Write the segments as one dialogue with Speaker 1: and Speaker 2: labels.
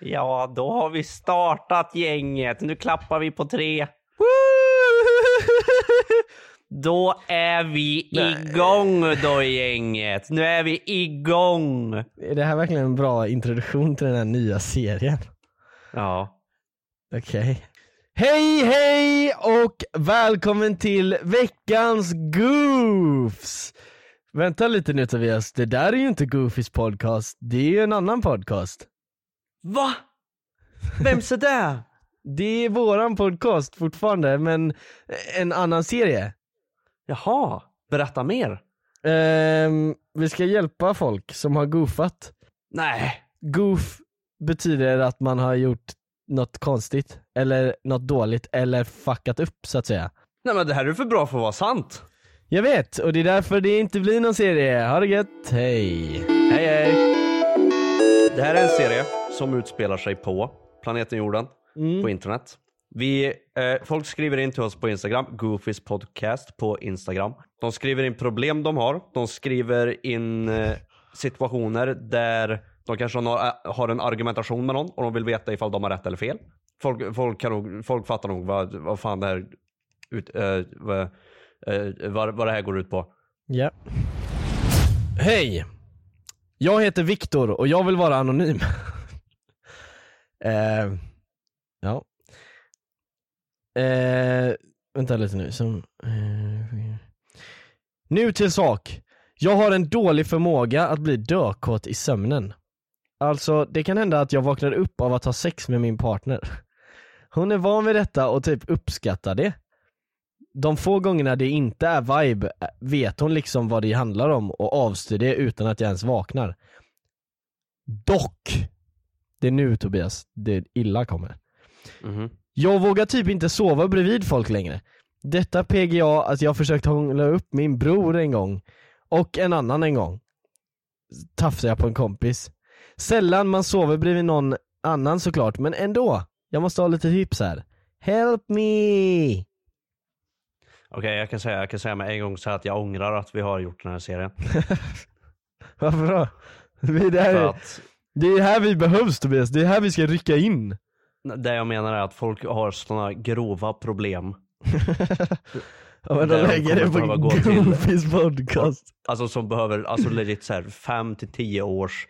Speaker 1: Ja, då har vi startat gänget. Nu klappar vi på tre. Då är vi igång då gänget. Nu är vi igång.
Speaker 2: Är det här verkligen en bra introduktion till den här nya serien?
Speaker 1: Ja.
Speaker 2: Okej. Hej hej och välkommen till veckans Goofs! Vänta lite nu Tobias, det där är ju inte Goofys podcast, det är ju en annan podcast.
Speaker 1: Va? Vem så där?
Speaker 2: Det är våran podcast fortfarande, men en annan serie.
Speaker 1: Jaha, berätta mer.
Speaker 2: Ehm, vi ska hjälpa folk som har goofat.
Speaker 1: Nej.
Speaker 2: Goof betyder att man har gjort något konstigt, eller något dåligt, eller fuckat upp så att säga.
Speaker 1: Nej men det här är för bra för att vara sant.
Speaker 2: Jag vet, och det är därför det inte blir någon serie. Ha det gött, hej!
Speaker 1: Hej hej. Det här är en serie som utspelar sig på planeten jorden, på internet. Vi, eh, folk skriver in till oss på Instagram, Goofys podcast på Instagram. De skriver in problem de har. De skriver in eh, situationer där de kanske har, har en argumentation med någon och de vill veta ifall de har rätt eller fel. Folk, folk, kan nog, folk fattar nog vad, vad fan det här ut, eh, vad, eh, vad, vad det här går ut på.
Speaker 2: Ja. Hej! Jag heter Viktor och jag vill vara anonym. eh, ja. Eh, vänta lite nu. Som, eh, nu till sak. Jag har en dålig förmåga att bli dökåt i sömnen. Alltså, det kan hända att jag vaknar upp av att ha sex med min partner. Hon är van vid detta och typ uppskattar det de få gångerna det inte är vibe eh, vet hon liksom vad det handlar om och avstyr det utan att jag ens vaknar. Dock! Det är nu Tobias, det illa kommer.
Speaker 1: Mhm.
Speaker 2: Jag vågar typ inte sova bredvid folk längre. Detta PGA att jag försökt hångla upp min bror en gång och en annan en gång. Tafsade jag på en kompis. Sällan man sover bredvid någon annan såklart, men ändå. Jag måste ha lite tips här. Help me!
Speaker 1: Okej, jag, kan säga, jag kan säga med en gång så här att jag ångrar att vi har gjort den här serien.
Speaker 2: Varför då? Det är,
Speaker 1: För
Speaker 2: där,
Speaker 1: att
Speaker 2: det är här vi behövs Tobias, det är här vi ska rycka in.
Speaker 1: det jag menar är att folk har sådana grova problem.
Speaker 2: Ja, men de
Speaker 1: Där de
Speaker 2: lägger det
Speaker 1: kommer behöva
Speaker 2: på
Speaker 1: gå till-
Speaker 2: Goofies podcast.
Speaker 1: Alltså som behöver, alltså legit såhär 5 till 10 års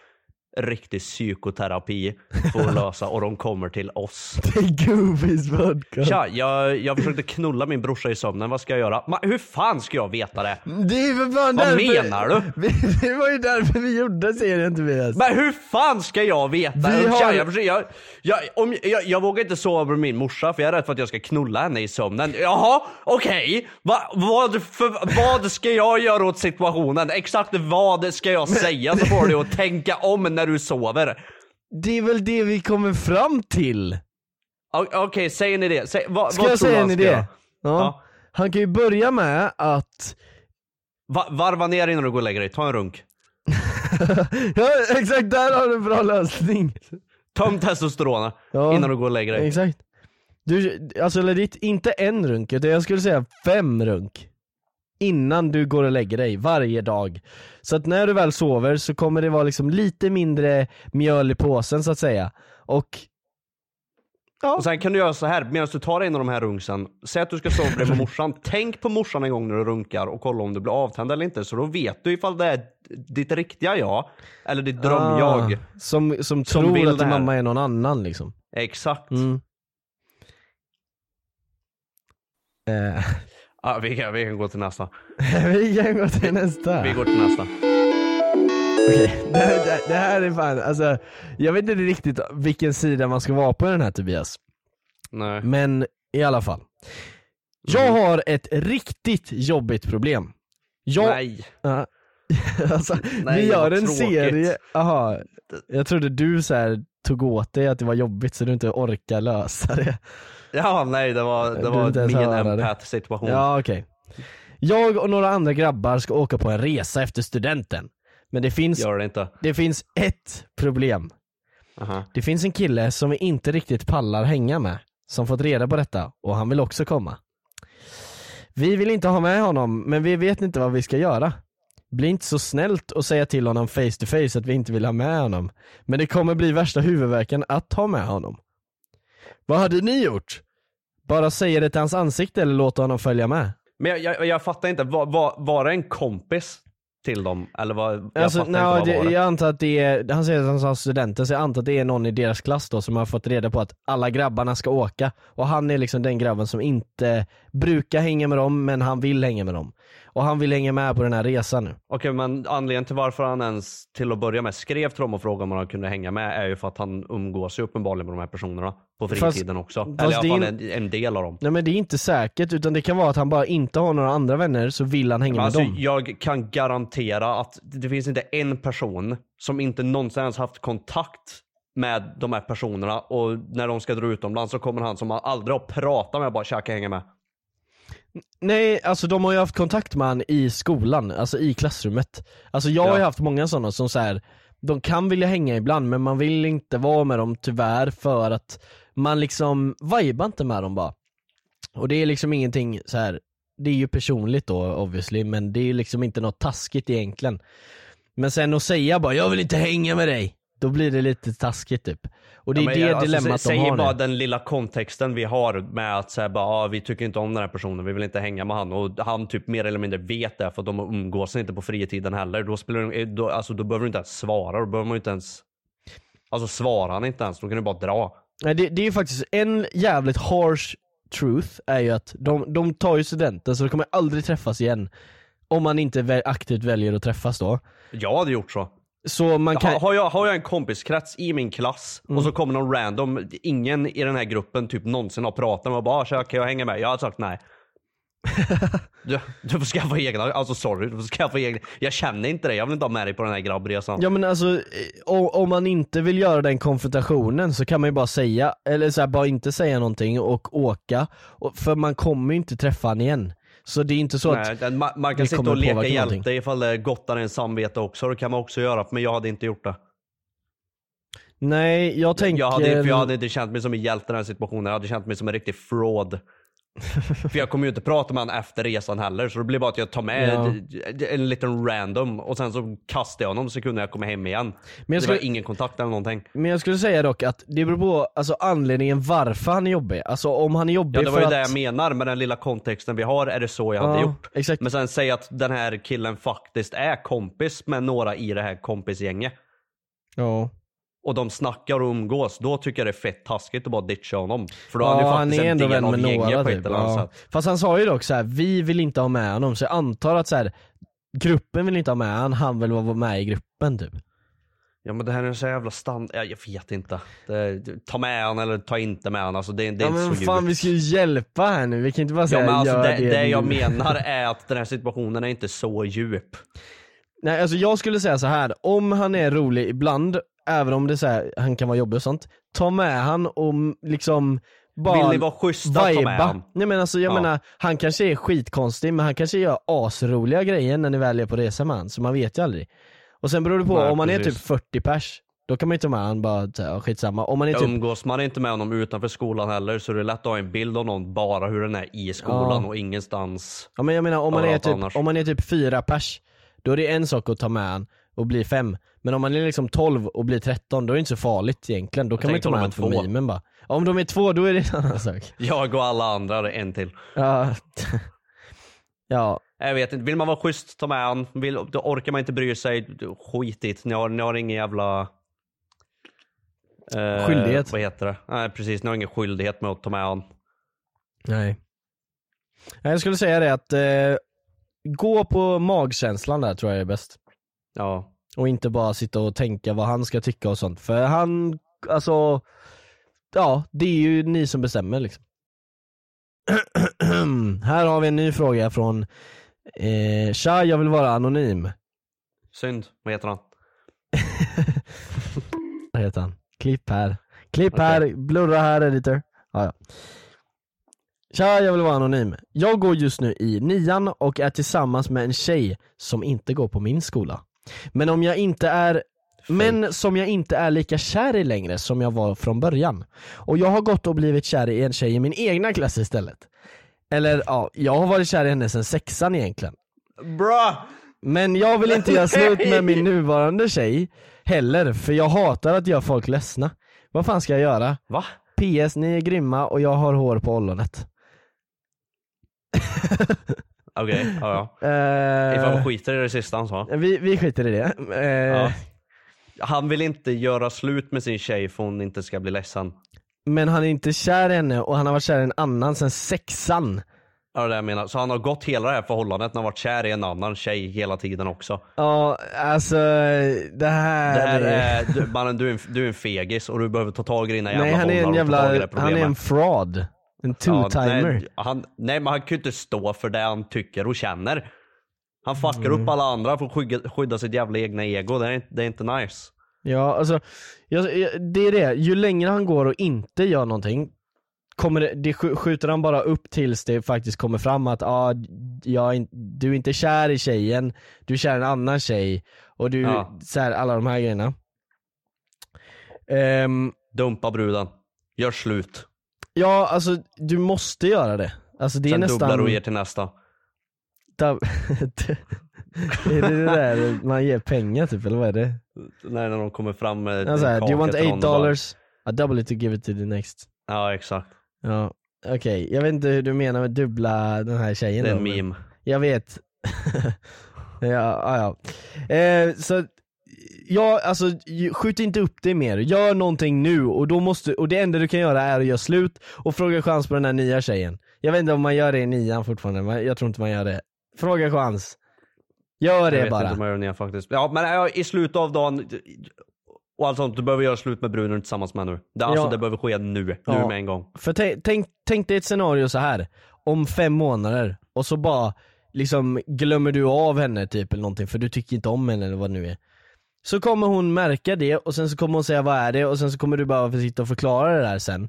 Speaker 1: riktig psykoterapi för att lösa och de kommer till oss.
Speaker 2: Till Goofies podcast.
Speaker 1: Tja, jag, jag försökte knulla min brorsa i sömnen, vad ska jag göra? Ma, hur fan ska jag veta det?
Speaker 2: Det är för fan
Speaker 1: Vad
Speaker 2: därför...
Speaker 1: menar du?
Speaker 2: Vi- Det var ju därför vi gjorde serien Tobias.
Speaker 1: Men hur fan ska jag veta?
Speaker 2: Vi har-
Speaker 1: Tja, jag, försöker- jag, jag, om, jag, jag vågar inte sova med min morsa för jag är rädd för att jag ska knulla henne i sömnen. Jaha, okej. Va, vad, för- vad ska jag göra åt situationen? Exakt vad ska jag säga så får du att tänka om när du sover?
Speaker 2: Det är väl det vi kommer fram till.
Speaker 1: O- Okej, säg en idé. Säg, vad,
Speaker 2: Ska
Speaker 1: vad
Speaker 2: jag
Speaker 1: tror du
Speaker 2: säga
Speaker 1: han
Speaker 2: en
Speaker 1: ska
Speaker 2: idé?
Speaker 1: göra?
Speaker 2: Ja.
Speaker 1: Ja.
Speaker 2: Han kan ju börja med att...
Speaker 1: Va, varva ner innan du går och lägger dig, ta en runk.
Speaker 2: ja exakt, där har du en bra lösning.
Speaker 1: Töm testosteronet
Speaker 2: Ja.
Speaker 1: innan du går och lägger dig.
Speaker 2: Exakt. Du, alltså legit, inte en runk, utan jag skulle säga fem runk. Innan du går och lägger dig, varje dag. Så att när du väl sover så kommer det vara liksom lite mindre mjöl i påsen så att säga. Och
Speaker 1: Och sen kan du göra så här, medan du tar en av de här runksen, säg att du ska sova bredvid morsan, tänk på morsan en gång när du runkar och kolla om du blir avtänd eller inte. Så då vet du ifall det är ditt riktiga jag, eller ditt drömjag.
Speaker 2: Ah, som, som,
Speaker 1: vill
Speaker 2: tror att
Speaker 1: det
Speaker 2: din
Speaker 1: här.
Speaker 2: mamma är någon annan liksom.
Speaker 1: Exakt.
Speaker 2: Mm. Eh,
Speaker 1: Ja, vi, kan, vi kan gå till nästa.
Speaker 2: vi kan gå till nästa.
Speaker 1: Vi går till nästa.
Speaker 2: Okej. Det, här- det, det här är fan, alltså, jag vet inte riktigt vilken sida man ska vara på i den här Tobias.
Speaker 1: Nej.
Speaker 2: Men i alla fall.
Speaker 1: Mm.
Speaker 2: Jag har ett riktigt jobbigt problem. Jag,
Speaker 1: Nej.
Speaker 2: Ja. alltså,
Speaker 1: Nej,
Speaker 2: vi gör
Speaker 1: vad
Speaker 2: en
Speaker 1: tråkigt.
Speaker 2: serie, aha, jag trodde du så här tog åt dig att det var jobbigt så du inte orkar lösa det.
Speaker 1: Ja, nej, det var,
Speaker 2: Du
Speaker 1: det
Speaker 2: vill inte
Speaker 1: var
Speaker 2: ens
Speaker 1: min
Speaker 2: höra det.
Speaker 1: empath-situation.
Speaker 2: Ja okej. Jag och några andra grabbar ska åka på en resa efter studenten. Men det finns,
Speaker 1: Gör det inte.
Speaker 2: det finns ett problem.
Speaker 1: Aha.
Speaker 2: Det finns en kille som vi inte riktigt pallar hänga med, som fått reda på detta och han vill också komma. Vi vill inte ha med honom, men vi vet inte vad vi ska göra. Bli inte så snällt och säga till honom face to face att vi inte vill ha med honom. Men det kommer bli värsta huvudvärken att ha med honom. Vad hade ni gjort? Bara säga det till hans ansikte eller låta honom följa med?
Speaker 1: Men jag, jag, jag fattar inte, var, var, var det en kompis till dem? Eller var, jag
Speaker 2: Alltså,
Speaker 1: fattar
Speaker 2: nej,
Speaker 1: inte vad var
Speaker 2: det,
Speaker 1: det.
Speaker 2: jag antar att det är, han säger att han har studenter, så jag antar att det är någon i deras klass då som har fått reda på att alla grabbarna ska åka och han är liksom den grabben som inte brukar hänga med dem men han vill hänga med dem. Och han vill hänga med på den här resan nu.
Speaker 1: Okej, men anledningen till varför han ens till att börja med skrev till dem och frågade om han kunde hänga med är ju för att han umgås ju uppenbarligen med de här personerna på
Speaker 2: Fast-
Speaker 1: fritiden också.
Speaker 2: fast
Speaker 1: Eller i alla fall
Speaker 2: det är
Speaker 1: en, en del av dem.
Speaker 2: Nej men det är inte säkert utan det kan vara att han bara inte har några andra vänner så vill han hänga
Speaker 1: Men
Speaker 2: med
Speaker 1: Alltså,
Speaker 2: dem.
Speaker 1: jag kan garantera att det finns inte en person som inte någonsin ens haft kontakt med de här personerna och när de ska dra utomlands så kommer han som han aldrig har pratat med bara käka hänga med.
Speaker 2: Nej alltså de har ju haft kontakt med han i skolan, alltså i klassrummet. Alltså jag har ju
Speaker 1: Ja.
Speaker 2: haft många sådana som så här. de kan vilja hänga ibland men man vill inte vara med dem tyvärr för att man liksom vibar inte med dem bara. Och det är liksom ingenting så här. det är ju personligt då obviously men det är ju liksom inte något taskigt egentligen. Men sen att säga bara 'jag vill inte hänga med dig' Då blir det lite taskigt typ. Och det är
Speaker 1: Ja, men
Speaker 2: det
Speaker 1: jag- alltså,
Speaker 2: dilemmat
Speaker 1: sä-
Speaker 2: de har
Speaker 1: Säg
Speaker 2: nu.
Speaker 1: bara den lilla kontexten vi har med att säga bara, ah, vi tycker inte om den här personen, vi vill inte hänga med han. Och han typ mer eller mindre vet det för att de umgås inte på fritiden heller. Då, spelar, det- då, alltså, då behöver du inte ens svara. Då behöver man ju inte ens... Alltså svarar han inte ens, då kan du bara dra.
Speaker 2: Nej det, det är ju faktiskt en jävligt harsh truth är ju att de, de tar ju studenten så de kommer aldrig träffas igen. Om man inte vä- aktivt väljer att träffas då.
Speaker 1: Jag hade gjort så.
Speaker 2: Så man kan... Mm.
Speaker 1: Ha- Har, jag, har jag en kompiskrets i min klass och så kommer någon random, ingen i den här gruppen typ någonsin har pratat med och bara ah, kan jag hänga med? Jag hade sagt nej. du, du får skaffa egna, alltså sorry, du får skaffa egna. Jag känner inte dig, jag vill inte ha med dig på den här grabbresan.
Speaker 2: Ja men alltså, eh, o- om man inte vill göra den konfrontationen så kan man ju bara säga, eller så här, bara inte säga någonting och åka. Och, för man kommer ju inte träffa han igen. Så det är inte så
Speaker 1: Nej,
Speaker 2: att,
Speaker 1: Eh, den- man, man
Speaker 2: det
Speaker 1: kan sitta
Speaker 2: kommer
Speaker 1: och leka
Speaker 2: påverka någonting.
Speaker 1: hjälte ifall det gottar en samvete också. Det kan man också göra, men jag hade inte gjort det.
Speaker 2: nej jag tänker...
Speaker 1: Jag hade, för
Speaker 2: eh,
Speaker 1: jag hade inte känt mig som en hjälte i den här situationen. Jag hade känt mig som en riktig fraud. för jag kommer ju inte prata med honom efter resan heller. Så det blir bara att jag tar med
Speaker 2: Ja.
Speaker 1: en, en liten randen och sen så kastar jag honom sekunden jag kommer hem igen. Men
Speaker 2: jag
Speaker 1: jag det var
Speaker 2: skulle-
Speaker 1: ingen kontakt eller någonting.
Speaker 2: Men jag skulle säga dock att det beror på alltså, anledningen varför han är jobbig. Alltså om han är jobbig
Speaker 1: Ja, det var
Speaker 2: för
Speaker 1: ju
Speaker 2: att...
Speaker 1: det jag menar med den lilla kontexten vi har. Är det så jag
Speaker 2: Ja,
Speaker 1: hade gjort?
Speaker 2: exakt.
Speaker 1: Men sen säg att den här killen faktiskt är kompis med några i det här kompisgänget.
Speaker 2: Ja.
Speaker 1: och de snackar och umgås, då tycker jag det är fett taskigt att bara ditcha honom. För då är
Speaker 2: Ja,
Speaker 1: han ju
Speaker 2: han
Speaker 1: faktiskt
Speaker 2: är
Speaker 1: en
Speaker 2: ändå
Speaker 1: del
Speaker 2: vän
Speaker 1: av
Speaker 2: med
Speaker 1: gänget
Speaker 2: några
Speaker 1: på
Speaker 2: typ.
Speaker 1: ett eller annat
Speaker 2: Ja.
Speaker 1: sätt.
Speaker 2: Fast han sa ju dock så här: vi vill inte ha med honom, så jag antar att så här, gruppen vill inte ha med honom, han vill vara med i gruppen typ.
Speaker 1: Ja men det här är så jävla stand... Ja, jag vet inte. Det, ta med han eller ta inte med han. Alltså, det, det är
Speaker 2: Ja,
Speaker 1: inte
Speaker 2: men
Speaker 1: så
Speaker 2: fan
Speaker 1: djupt.
Speaker 2: vi ska ju hjälpa här nu, vi kan inte bara
Speaker 1: Ja,
Speaker 2: säga
Speaker 1: men alltså,
Speaker 2: gör
Speaker 1: det,
Speaker 2: det,
Speaker 1: det, jag
Speaker 2: nu."
Speaker 1: menar är att den här situationen är inte så djup.
Speaker 2: Nej alltså jag skulle säga så här om han är rolig ibland, även om det är så här, han kan vara jobbig och sånt, ta med han och m- liksom bara
Speaker 1: Vill ni vara schyssta, ta med
Speaker 2: viba.
Speaker 1: han.
Speaker 2: Nej men alltså jag
Speaker 1: Ja.
Speaker 2: menar, han kanske är skitkonstig men han kanske gör asroliga grejer när ni väl är på resa med han, så man vet ju aldrig. Och sen beror det på,
Speaker 1: Nej,
Speaker 2: om man är
Speaker 1: precis.
Speaker 2: typ 40 pers, då kan man ju ta med han bara så här, skitsamma. Om man är typ
Speaker 1: Umgås man inte med honom utanför skolan heller så det är lätt att ha en bild av någon bara hur den är i skolan
Speaker 2: Ja.
Speaker 1: och ingenstans.
Speaker 2: Ja men jag menar om man, är
Speaker 1: Överallt
Speaker 2: typ,
Speaker 1: annars.
Speaker 2: om man är typ fyra pers, då är det en sak att ta med han och bli fem. Men om man är liksom 12 och blir 13, då är det inte så farligt egentligen. Då kan man ju
Speaker 1: tänkte
Speaker 2: ta med
Speaker 1: om
Speaker 2: han
Speaker 1: de
Speaker 2: på
Speaker 1: är två.
Speaker 2: mimen bara. Ja, om de är två, då är det en annan sak.
Speaker 1: Jag och alla andra, det är en till.
Speaker 2: Ja. ja.
Speaker 1: Jag vet inte, vill man vara schysst, ta med han. Vill, då orkar man inte bry sig, skit it. Ni har, ni har ingen jävla... eh,
Speaker 2: Skyldighet.
Speaker 1: Vad heter det? Nej precis, ni har ingen skyldighet med att ta med han.
Speaker 2: Nej. Nej, Jag skulle säga det att eh, gå på magkänslan där tror jag är bäst.
Speaker 1: Ja.
Speaker 2: Och inte bara sitta och tänka vad han ska tycka och sånt. För han, alltså, ja det är ju ni som bestämmer liksom. Här har vi en ny fråga från eh, Tja, jag vill vara anonym.
Speaker 1: Synd. Vad heter han?
Speaker 2: Vad heter han? Klipp här. Klipp här, blurra här editor. Ja, ja. Tja, jag vill vara anonym. Jag går just nu i nian och är tillsammans med en tjej som inte går på min skola. Men om jag inte är men som jag inte är lika kär i längre som jag var från början. Och jag har gått och blivit kär i en tjej i min egna klass istället. Eller ja, jag har varit kär i henne sedan sexan egentligen.
Speaker 1: Bra!
Speaker 2: Men jag vill inte göra slut med min nuvarande tjej heller, för jag hatar att göra folk ledsna. Vad fan ska jag göra?
Speaker 1: Va?
Speaker 2: PS, ni är grymma och jag har hår på ollonet.
Speaker 1: Okej, ja, ja. Ifall man
Speaker 2: Eh,
Speaker 1: skiter i det sista han sa.
Speaker 2: vi, vi skiter i det. Eh,
Speaker 1: Ja. Han vill inte göra slut med sin tjej för hon inte ska bli ledsen.
Speaker 2: Men han är inte kär i henne och han har varit kär i en annan sedan sexan.
Speaker 1: Ja, det är det jag menar. Så han har gått hela det här förhållandet när han varit kär i en annan tjej hela tiden också.
Speaker 2: Ja, alltså det här...
Speaker 1: Det här är, du, mannen, du är, en, du är en fegis och du behöver ta tag i dina jävla
Speaker 2: nej han är
Speaker 1: bollar
Speaker 2: en
Speaker 1: och ta tag i det
Speaker 2: jävla,
Speaker 1: här
Speaker 2: han är en
Speaker 1: problemet.
Speaker 2: fraud. En
Speaker 1: Ja,
Speaker 2: two-timer.
Speaker 1: nej, han, nej men han kan ju inte stå för det han tycker och känner. Han fuckar
Speaker 2: Mm.
Speaker 1: upp alla andra för att skygga, skydda sitt jävla egna ego. Det är, inte- det är inte nice.
Speaker 2: Ja, alltså jag, jag, det är det. Ju längre han går och inte gör någonting, kommer det, det sk- skjuter han bara upp tills det faktiskt kommer fram att ah, jag är in, du är inte kär i tjejen, du är kär i en annan tjej och du,
Speaker 1: Ja.
Speaker 2: så här, alla de här grejerna. Ehm,
Speaker 1: Dumpa bruden. Gör slut.
Speaker 2: ja, alltså du måste göra det. Alltså det är
Speaker 1: Sen
Speaker 2: nästan...
Speaker 1: dubblar du och ger till nästa.
Speaker 2: Dab- är det det där man ger pengar typ, eller vad är det?
Speaker 1: När när de kommer fram med
Speaker 2: Ja, så här,
Speaker 1: en
Speaker 2: Do
Speaker 1: kaka
Speaker 2: you want
Speaker 1: till någon
Speaker 2: eight
Speaker 1: och bara-
Speaker 2: dollars? I double it to give it to the next.
Speaker 1: Ja exakt.
Speaker 2: Ja, okej. Jag vet inte hur du menar med dubbla den här tjejen
Speaker 1: Det är
Speaker 2: då,
Speaker 1: en
Speaker 2: men
Speaker 1: meme.
Speaker 2: Jag vet. ja, ja, ja. Eh, så, ja, alltså ju- skjut inte upp det mer. Gör någonting nu och då måste, och det enda du kan göra är att göra slut och fråga chans på den här nya tjejen. Jag vet inte om man gör det i nian fortfarande, men jag tror inte man gör det. Fråga chans. Gör
Speaker 1: Jag
Speaker 2: det
Speaker 1: vet inte
Speaker 2: bara.
Speaker 1: om jag gör det igen faktiskt. Ja men ja, i slutet av dagen och allt sånt, du behöver göra slut med bruden du är tillsammans med nu. Det, alltså
Speaker 2: Ja.
Speaker 1: det behöver ske nu. Nu
Speaker 2: Ja.
Speaker 1: med en gång.
Speaker 2: För tänk, tänk, tänk dig ett scenario så här om fem månader och så bara liksom glömmer du av henne typ eller någonting för du tycker inte om henne eller vad det nu är. Så kommer hon märka det och sen så kommer hon säga vad är det och sen så kommer du behöva sitta och förklara det där sen.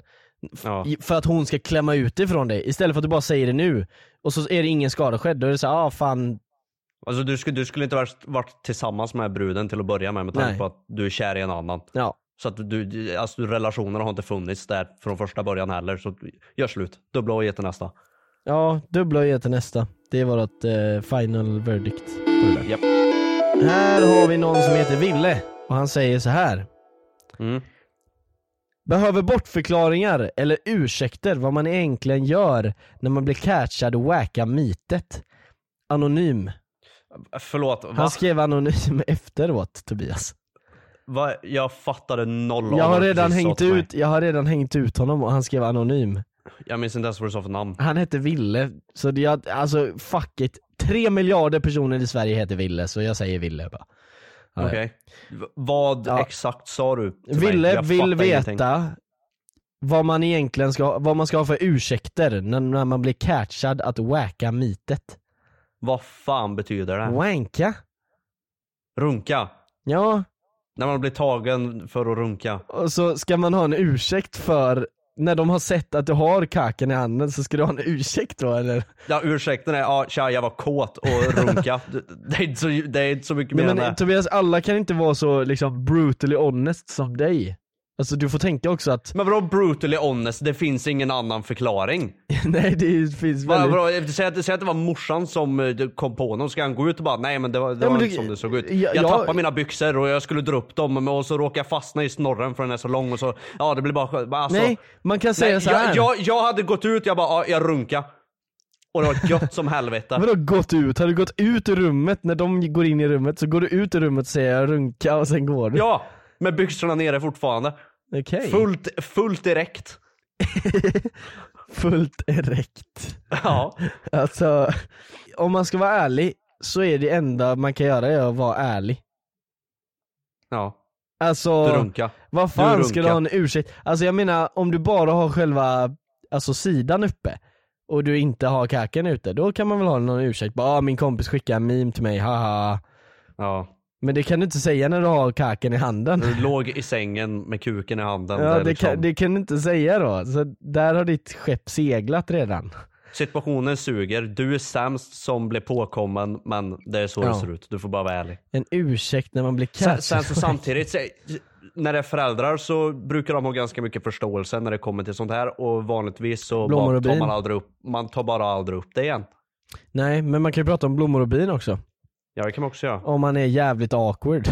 Speaker 1: Ja.
Speaker 2: I- För att hon ska klämma ut det från dig istället för att du bara säger det nu och så är det ingen skada skedd. Då är det så här, ah fan,
Speaker 1: Alltså du skulle, du skulle inte varit, varit tillsammans med bruden till att börja med med
Speaker 2: Nej.
Speaker 1: tanke på att du är kär i en annan.
Speaker 2: ja.
Speaker 1: Så att du- du, alltså du- relationerna har inte funnits där från första början heller. Så gör slut. Dubbla och ge till nästa.
Speaker 2: Ja, dubbla och ge till nästa. Det är vårt eh, final verdict. på det där.
Speaker 1: Japp.
Speaker 2: Här har vi någon som heter Ville och han säger så här.
Speaker 1: Mm.
Speaker 2: Behöver bortförklaringar eller ursäkter vad man egentligen gör när man blir catchad och wacka mitet. Anonym.
Speaker 1: Förlåt, va?
Speaker 2: Han skrev anonym efteråt Tobias.
Speaker 1: va? Jag fattade noll av
Speaker 2: Jag har
Speaker 1: vad du
Speaker 2: redan
Speaker 1: precis sa
Speaker 2: hängt
Speaker 1: till mig.
Speaker 2: ut, jag har redan hängt ut honom och han skrev anonym.
Speaker 1: Jag minns inte ens vad du sa för namn.
Speaker 2: Han hette Ville, så det, jag, alltså fuck it. Tre miljarder personer i Sverige heter Ville, så jag säger Ville bara. Ja,
Speaker 1: Okej. V- Vad
Speaker 2: Ja.
Speaker 1: exakt sa du till mig?
Speaker 2: Ville
Speaker 1: Jag
Speaker 2: vill
Speaker 1: fattar
Speaker 2: veta
Speaker 1: ingenting.
Speaker 2: vad man egentligen ska, ha- vad man ska ha för ursäkter när, när man blir catchad att wacka mitet.
Speaker 1: Vad fan betyder det?
Speaker 2: Wanka?
Speaker 1: Runka.
Speaker 2: Ja,
Speaker 1: När man blir tagen för att runka.
Speaker 2: och så ska man ha en ursäkt för när de har sett att du har kaken i handen så ska du ha en ursäkt då eller?
Speaker 1: Ja ursäkten är, ja tja jag var kåt och runka. Det- det, är inte så, det är inte så mycket
Speaker 2: Nej,
Speaker 1: mer
Speaker 2: men eh,
Speaker 1: än det.
Speaker 2: Tobias, alla kan inte vara så liksom brutally honest som dig. Alltså du får tänka också att,
Speaker 1: Men vadå brutally honest? Det finns ingen annan förklaring.
Speaker 2: nej det finns
Speaker 1: Va-
Speaker 2: väldigt...
Speaker 1: Vadå, säg, att, säg att det var morsan som eh, kom på honom, ska han gå ut och bara nej men det var, det
Speaker 2: Ja,
Speaker 1: var
Speaker 2: men du-
Speaker 1: inte som det såg ut.
Speaker 2: ja,
Speaker 1: jag
Speaker 2: ja.
Speaker 1: tappade mina byxor och jag skulle dra upp dem men- och så råkade jag fastna i snorren för den är så lång och så, ja det blir bara skö- alltså,
Speaker 2: nej, man kan säga
Speaker 1: nej,
Speaker 2: så här.
Speaker 1: jag, jag, jag hade gått ut, jag bara ja, jag runka Och det var gött som helvete.
Speaker 2: Vadå gått ut? Har du gått ut ur rummet? När de går in i rummet så går du ut ur rummet och säger runka och sen går du?
Speaker 1: Ja! Med byxorna nere fortfarande.
Speaker 2: Okej.
Speaker 1: Fullt, fullt direkt.
Speaker 2: Fullt erekt.
Speaker 1: Ja.
Speaker 2: Alltså, om man ska vara ärlig så är det enda man kan göra är att vara ärlig.
Speaker 1: ja.
Speaker 2: Alltså,
Speaker 1: Du runka.
Speaker 2: vad fan
Speaker 1: du
Speaker 2: ska du
Speaker 1: runka.
Speaker 2: ha en ursäkt? Alltså jag menar, om du bara har själva alltså, sidan uppe och du inte har kaken ute, då kan man väl ha någon ursäkt. Bara, ah, min kompis skickade en meme till mig, haha.
Speaker 1: Ja.
Speaker 2: Men det kan du inte säga när du har kaken i handen.
Speaker 1: Du låg i sängen med kuken i handen.
Speaker 2: Ja,
Speaker 1: där
Speaker 2: det,
Speaker 1: liksom.
Speaker 2: kan, det kan du inte säga då. Så där har ditt skepp seglat redan.
Speaker 1: Situationen suger, du är sämst som blev påkommen men det är så
Speaker 2: Ja.
Speaker 1: det ser ut. Du får bara vara ärlig.
Speaker 2: En ursäkt när man blir
Speaker 1: Sen,
Speaker 2: catch.
Speaker 1: sen så samtidigt, så- när det är föräldrar så brukar de ha ganska mycket förståelse när det kommer till sånt här och vanligtvis så
Speaker 2: Blommor
Speaker 1: bara
Speaker 2: och
Speaker 1: tar
Speaker 2: bin.
Speaker 1: man aldrig upp, man tar bara aldrig upp det igen.
Speaker 2: Nej, men man kan ju prata om blommor och bin också.
Speaker 1: Ja det kan man också göra.
Speaker 2: Om man är jävligt awkward.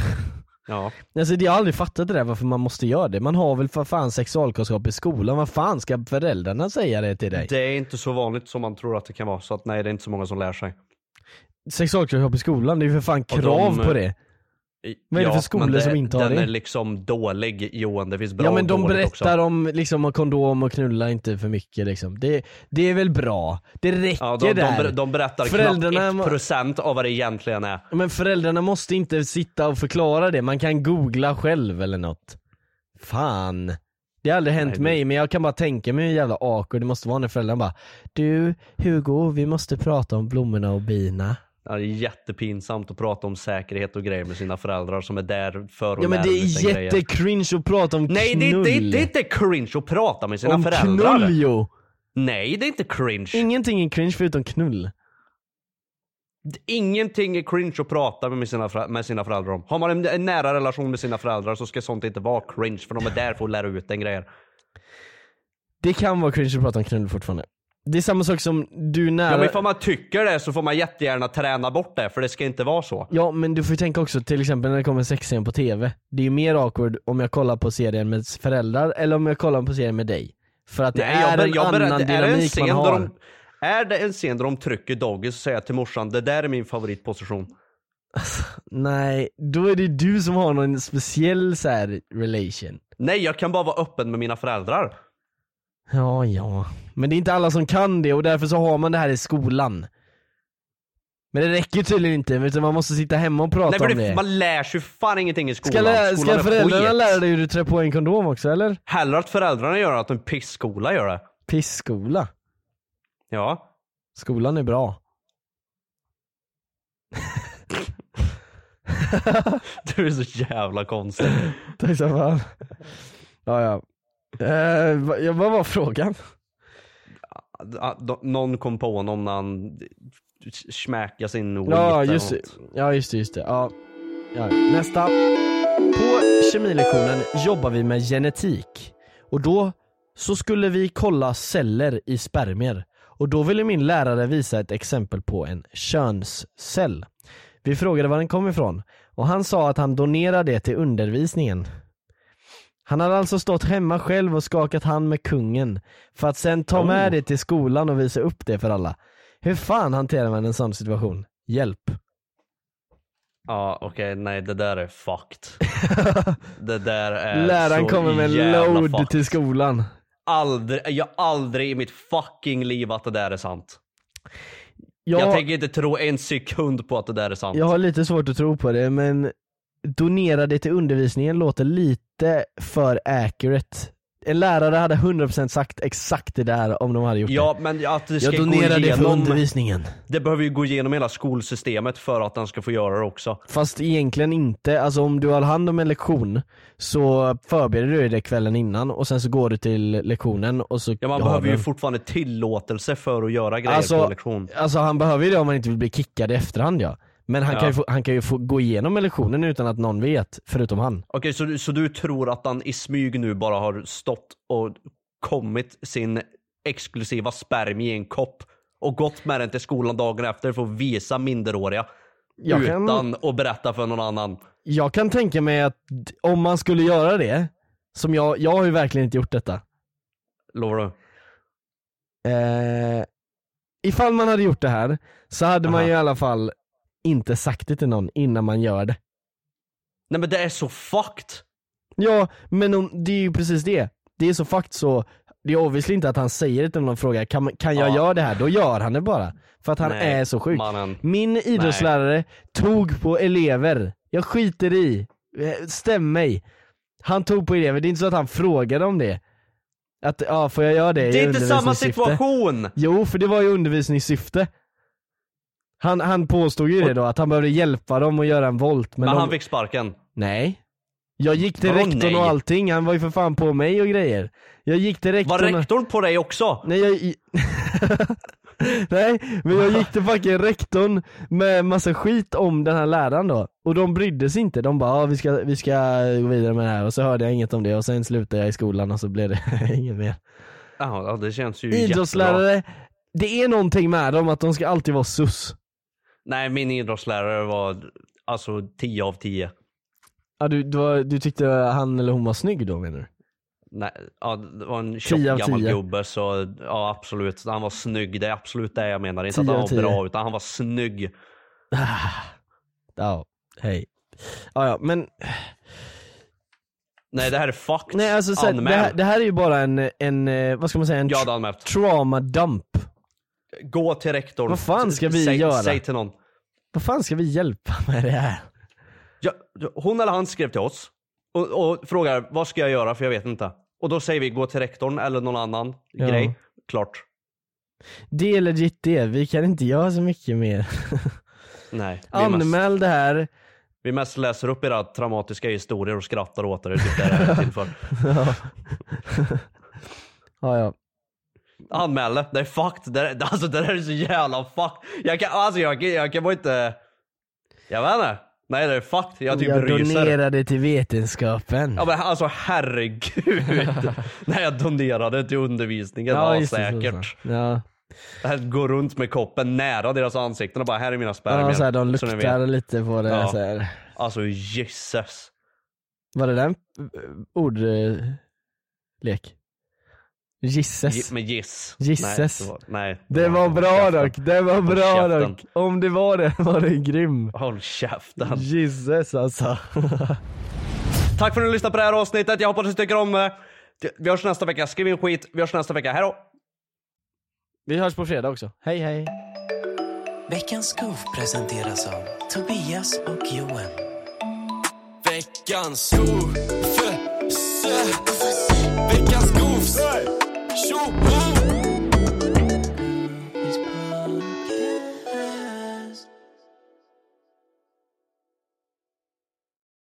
Speaker 1: Ja.
Speaker 2: Alltså, det- jag har aldrig fattat det där varför man måste göra det. Man har väl för fan sexualkunskap i skolan. Vad fan ska föräldrarna säga det till dig?
Speaker 1: Det är inte så vanligt som man tror att det kan vara så att nej det är inte så många som lär sig.
Speaker 2: Sexualkunskap i skolan, det är ju för fan
Speaker 1: Och de-
Speaker 2: krav på det.
Speaker 1: I-
Speaker 2: Vad är det för
Speaker 1: men
Speaker 2: skolor som inte har
Speaker 1: den
Speaker 2: det?
Speaker 1: är liksom dålig Johan, det finns bra
Speaker 2: Ja men de
Speaker 1: och dåligt
Speaker 2: berättar
Speaker 1: också.
Speaker 2: om liksom om kondom och knulla inte för mycket liksom. Det, det är väl bra? Det räcker
Speaker 1: Ja, de, de,
Speaker 2: där.
Speaker 1: ber- de berättar
Speaker 2: Föräldrarna må-
Speaker 1: knappt 1% av vad det egentligen är.
Speaker 2: Men föräldrarna måste inte sitta och förklara det, man kan googla själv eller något. Fan. Det har aldrig hänt
Speaker 1: Nej, det-
Speaker 2: mig men jag kan bara tänka mig hur jävla awkward det måste vara när föräldrarna bara Du Hugo, vi måste prata om blommorna och bina.
Speaker 1: Ja, det är jättepinsamt att prata om säkerhet och grejer med sina föräldrar som är där för att
Speaker 2: Ja men
Speaker 1: lära
Speaker 2: det
Speaker 1: ut
Speaker 2: är
Speaker 1: den grejen.
Speaker 2: jättecringe att prata om
Speaker 1: Nej det,
Speaker 2: knull.
Speaker 1: det, det är inte cringe att prata med sina
Speaker 2: om
Speaker 1: föräldrar.
Speaker 2: knull jo!
Speaker 1: Nej det är inte cringe.
Speaker 2: Ingenting är cringe förutom knull.
Speaker 1: Ingenting är cringe att prata med sina, föräldrar- med sina föräldrar om. Har man en, en nära relation med sina föräldrar så ska sånt inte vara cringe för de är där för att lära ut den grejer.
Speaker 2: Det kan vara cringe att prata om knull fortfarande. Det är samma sak som du är nära...
Speaker 1: Ja, men ifall man tycker det så får man jättegärna träna bort det för det ska inte vara så.
Speaker 2: Ja men du får ju tänka också till exempel när det kommer en sexscen på tv Det är ju mer awkward om jag kollar på serien med föräldrar eller om jag kollar på serien med dig För att det
Speaker 1: Nej,
Speaker 2: är
Speaker 1: jag, ber-
Speaker 2: en
Speaker 1: jag, ber-
Speaker 2: annan
Speaker 1: är det en
Speaker 2: dynamik
Speaker 1: scen
Speaker 2: man
Speaker 1: där
Speaker 2: har
Speaker 1: de, Är det en scen där de trycker doggy så säger jag till morsan det där är min favoritposition.
Speaker 2: Nej, då är det du som har någon speciell så här relation
Speaker 1: Nej jag kan bara vara öppen med mina föräldrar.
Speaker 2: Ja ja, men det är inte alla som kan det och därför så har man det här i skolan Men det räcker ju tydligen inte utan man måste sitta hemma och prata
Speaker 1: Nej, men
Speaker 2: om
Speaker 1: det,
Speaker 2: det
Speaker 1: man lär sig fan ingenting i
Speaker 2: Ska,
Speaker 1: skolan.
Speaker 2: lä-
Speaker 1: skolan
Speaker 2: ska
Speaker 1: är
Speaker 2: föräldrarna
Speaker 1: skit.
Speaker 2: lära dig hur du trär på en kondom också eller?
Speaker 1: Hellre att föräldrarna gör det, att en pissskola gör det.
Speaker 2: Pissskola,
Speaker 1: Ja.
Speaker 2: skolan är bra
Speaker 1: Du är så jävla konstig.
Speaker 2: Tack så fan. Ja, ja. Eh, va- ja, vad var frågan?
Speaker 1: Att de- Någon kom på honom när han smäkade sin weed
Speaker 2: Ja
Speaker 1: eller
Speaker 2: just, det.
Speaker 1: något.
Speaker 2: ja, just det. Just det. Ja. Ja. Nästa. På kemilektionen jobbar vi med genetik. Och då så skulle vi kolla celler i spermier. Och då ville min lärare visa ett exempel på en könscell. Vi frågade var den kom ifrån och han sa att han donerade det till undervisningen. Han hade alltså stått hemma själv och skakat hand med kungen för att sen ta med det till skolan och visa upp det för alla. Hur fan hanterar man en sån situation? Hjälp.
Speaker 1: Ja okej, nej det där är fucked. det där är
Speaker 2: Läraren
Speaker 1: så
Speaker 2: kommer med en
Speaker 1: jävla
Speaker 2: load
Speaker 1: fucked.
Speaker 2: till skolan.
Speaker 1: Aldrig, jag har aldrig i mitt fucking liv att det där är sant.
Speaker 2: Jag,
Speaker 1: Jag
Speaker 2: jag,
Speaker 1: tänker inte tro en sekund på att det där är sant.
Speaker 2: har lite svårt att tro på det men donera det till undervisningen låter lite för accurate. En lärare hade 100% sagt exakt det där om de hade gjort
Speaker 1: Ja men att det
Speaker 2: det.
Speaker 1: ska
Speaker 2: Jag
Speaker 1: gå
Speaker 2: donerar det för
Speaker 1: igenom,
Speaker 2: undervisningen.
Speaker 1: det behöver ju gå igenom hela skolsystemet för att den ska få göra det också.
Speaker 2: Fast egentligen inte, alltså om du har hand om en lektion så förbereder du dig kvällen innan och sen så går du till lektionen och så
Speaker 1: Ja, man
Speaker 2: har
Speaker 1: behöver ju
Speaker 2: den.
Speaker 1: fortfarande tillåtelse för att göra grejer på
Speaker 2: Alltså-
Speaker 1: en lektion.
Speaker 2: Alltså han behöver ju det om han inte vill bli kickad i efterhand ja. Men han
Speaker 1: Ja.
Speaker 2: kan ju, få, han kan ju få gå igenom med lektionen utan att någon vet, förutom han.
Speaker 1: Okej, så, du- så du tror att han i smyg nu bara har stått och kommit sin exklusiva spermie i en kopp och gått med den till skolan dagen efter för att visa minderåriga
Speaker 2: Jag kan,
Speaker 1: utan att berätta för någon annan.
Speaker 2: jag kan tänka mig att d- om man skulle göra det, som jag, jag har ju verkligen inte gjort detta.
Speaker 1: Lovar du?
Speaker 2: Eh, ifall man hade gjort det här så hade man
Speaker 1: Aha.
Speaker 2: ju i alla fall inte sagt det till någon innan man gör det.
Speaker 1: Nej men det är så fucked!
Speaker 2: Ja, men om, det är ju precis det. Det är så fakt så, det är obviously inte att han säger det till någon fråga, kan, man- kan jag
Speaker 1: Ja.
Speaker 2: göra det här? Då gör han det bara. För att han
Speaker 1: Nej,
Speaker 2: är så sjuk.
Speaker 1: mannen.
Speaker 2: Min idrottslärare tog på elever. Jag skiter i. Eh, Stäm mig. Han tog på elever, det är inte så att han frågade om det. Att, ja får jag göra det i
Speaker 1: Det är inte samma
Speaker 2: undervisningssyfte?
Speaker 1: situation!
Speaker 2: Jo, för det var ju undervisningssyfte. Han, han påstod ju det då, att han behövde hjälpa dem att göra en volt. Men,
Speaker 1: Men
Speaker 2: de...
Speaker 1: han fick sparken.
Speaker 2: Nej. Jag gick till
Speaker 1: Vadå
Speaker 2: rektorn
Speaker 1: nej?
Speaker 2: och allting, han var ju för fan på mig och grejer. Jag gick till
Speaker 1: Var
Speaker 2: rektorn och...
Speaker 1: rektorn på dig också?
Speaker 2: Nej jag... i- Nej, men jag gick till fucking rektorn med massa skit om den här läraren då. Och de brydde sig inte, de bara ah, vi, ska, vi ska gå vidare med det här och så hörde jag inget om det och sen slutade jag i skolan och så blev det inget mer.
Speaker 1: Ja, ja, det känns ju jättebra.
Speaker 2: Idrottslärare, det är någonting med dem att de ska alltid vara sus.
Speaker 1: Nej, min idrottslärare var alltså 10 av 10.
Speaker 2: Ja, du, du, var, du tyckte han eller hon var snygg då menar du?
Speaker 1: Nej, ja, det var en tjock
Speaker 2: 10 av
Speaker 1: gammal
Speaker 2: 10.
Speaker 1: gubbe så ja absolut, han var snygg. Det är absolut det jag menar. Inte
Speaker 2: 10
Speaker 1: att han
Speaker 2: av
Speaker 1: var
Speaker 2: 10.
Speaker 1: bra utan han var snygg.
Speaker 2: Ja, hej. Ja, ja men
Speaker 1: Nej det här är fucked.
Speaker 2: nej alltså så här, det,
Speaker 1: Anmäl.
Speaker 2: här, det här är ju bara en, en eh, vad ska man säga, en
Speaker 1: Jag hade anmält.
Speaker 2: trauma dump.
Speaker 1: Gå till rektorn.
Speaker 2: Vad fan ska vi
Speaker 1: säg,
Speaker 2: göra?
Speaker 1: Säg till någon.
Speaker 2: Vad fan ska vi hjälpa med det här?
Speaker 1: Ja, hon eller han skrev till oss och, och frågar vad ska jag göra för jag vet inte. Och då säger vi gå till rektorn eller någon annan
Speaker 2: Ja.
Speaker 1: grej. Klart.
Speaker 2: Det är legit det, vi kan inte göra så mycket mer.
Speaker 1: Nej. Vi, mest,
Speaker 2: Anmäl det här.
Speaker 1: vi mest läser upp era traumatiska historier och skrattar åt er. Det är typ det det här är till för.
Speaker 2: Ja. ja, ja.
Speaker 1: Anmäl det. Det är fucked. Det, är- alltså det där är så jävla fucked. Jag kan, alltså jag, kan- jag kan bara inte... Jag vet inte. Nej det är fucked. Jag typ
Speaker 2: jag
Speaker 1: ryser.
Speaker 2: donerade till vetenskapen.
Speaker 1: Ja men alltså herregud. När jag donerade till undervisningen. Ja,
Speaker 2: just det, så-
Speaker 1: säkert.
Speaker 2: så. Ja.
Speaker 1: Här går runt med koppen nära deras ansikten och bara här är mina spermier.
Speaker 2: Ja, så här, de
Speaker 1: Så ni vet.
Speaker 2: luktar lite på det.
Speaker 1: Ja.
Speaker 2: Så här.
Speaker 1: Alltså jösses.
Speaker 2: Var det den eh, ordlek?
Speaker 1: Gi-
Speaker 2: Gisses.
Speaker 1: Med giss.
Speaker 2: Gisses.
Speaker 1: Nej, det var, nej,
Speaker 2: Det var bra
Speaker 1: käften.
Speaker 2: dock, det var bra
Speaker 1: käften.
Speaker 2: dock. Om det var det var det grym.
Speaker 1: Håll käften.
Speaker 2: Gisses alltså.
Speaker 1: Tack för att ni lyssnade på det här avsnittet. Jag hoppas ni tycker om det. Vi hörs nästa vecka. Skriv in skit. Vi hörs nästa vecka. Hej då.
Speaker 2: Vi hörs på fredag också. Hej hej.
Speaker 3: Veckans Goof presenteras av Tobias och Joel.
Speaker 4: Veckans gofse. Veckans gofse. Tjoho!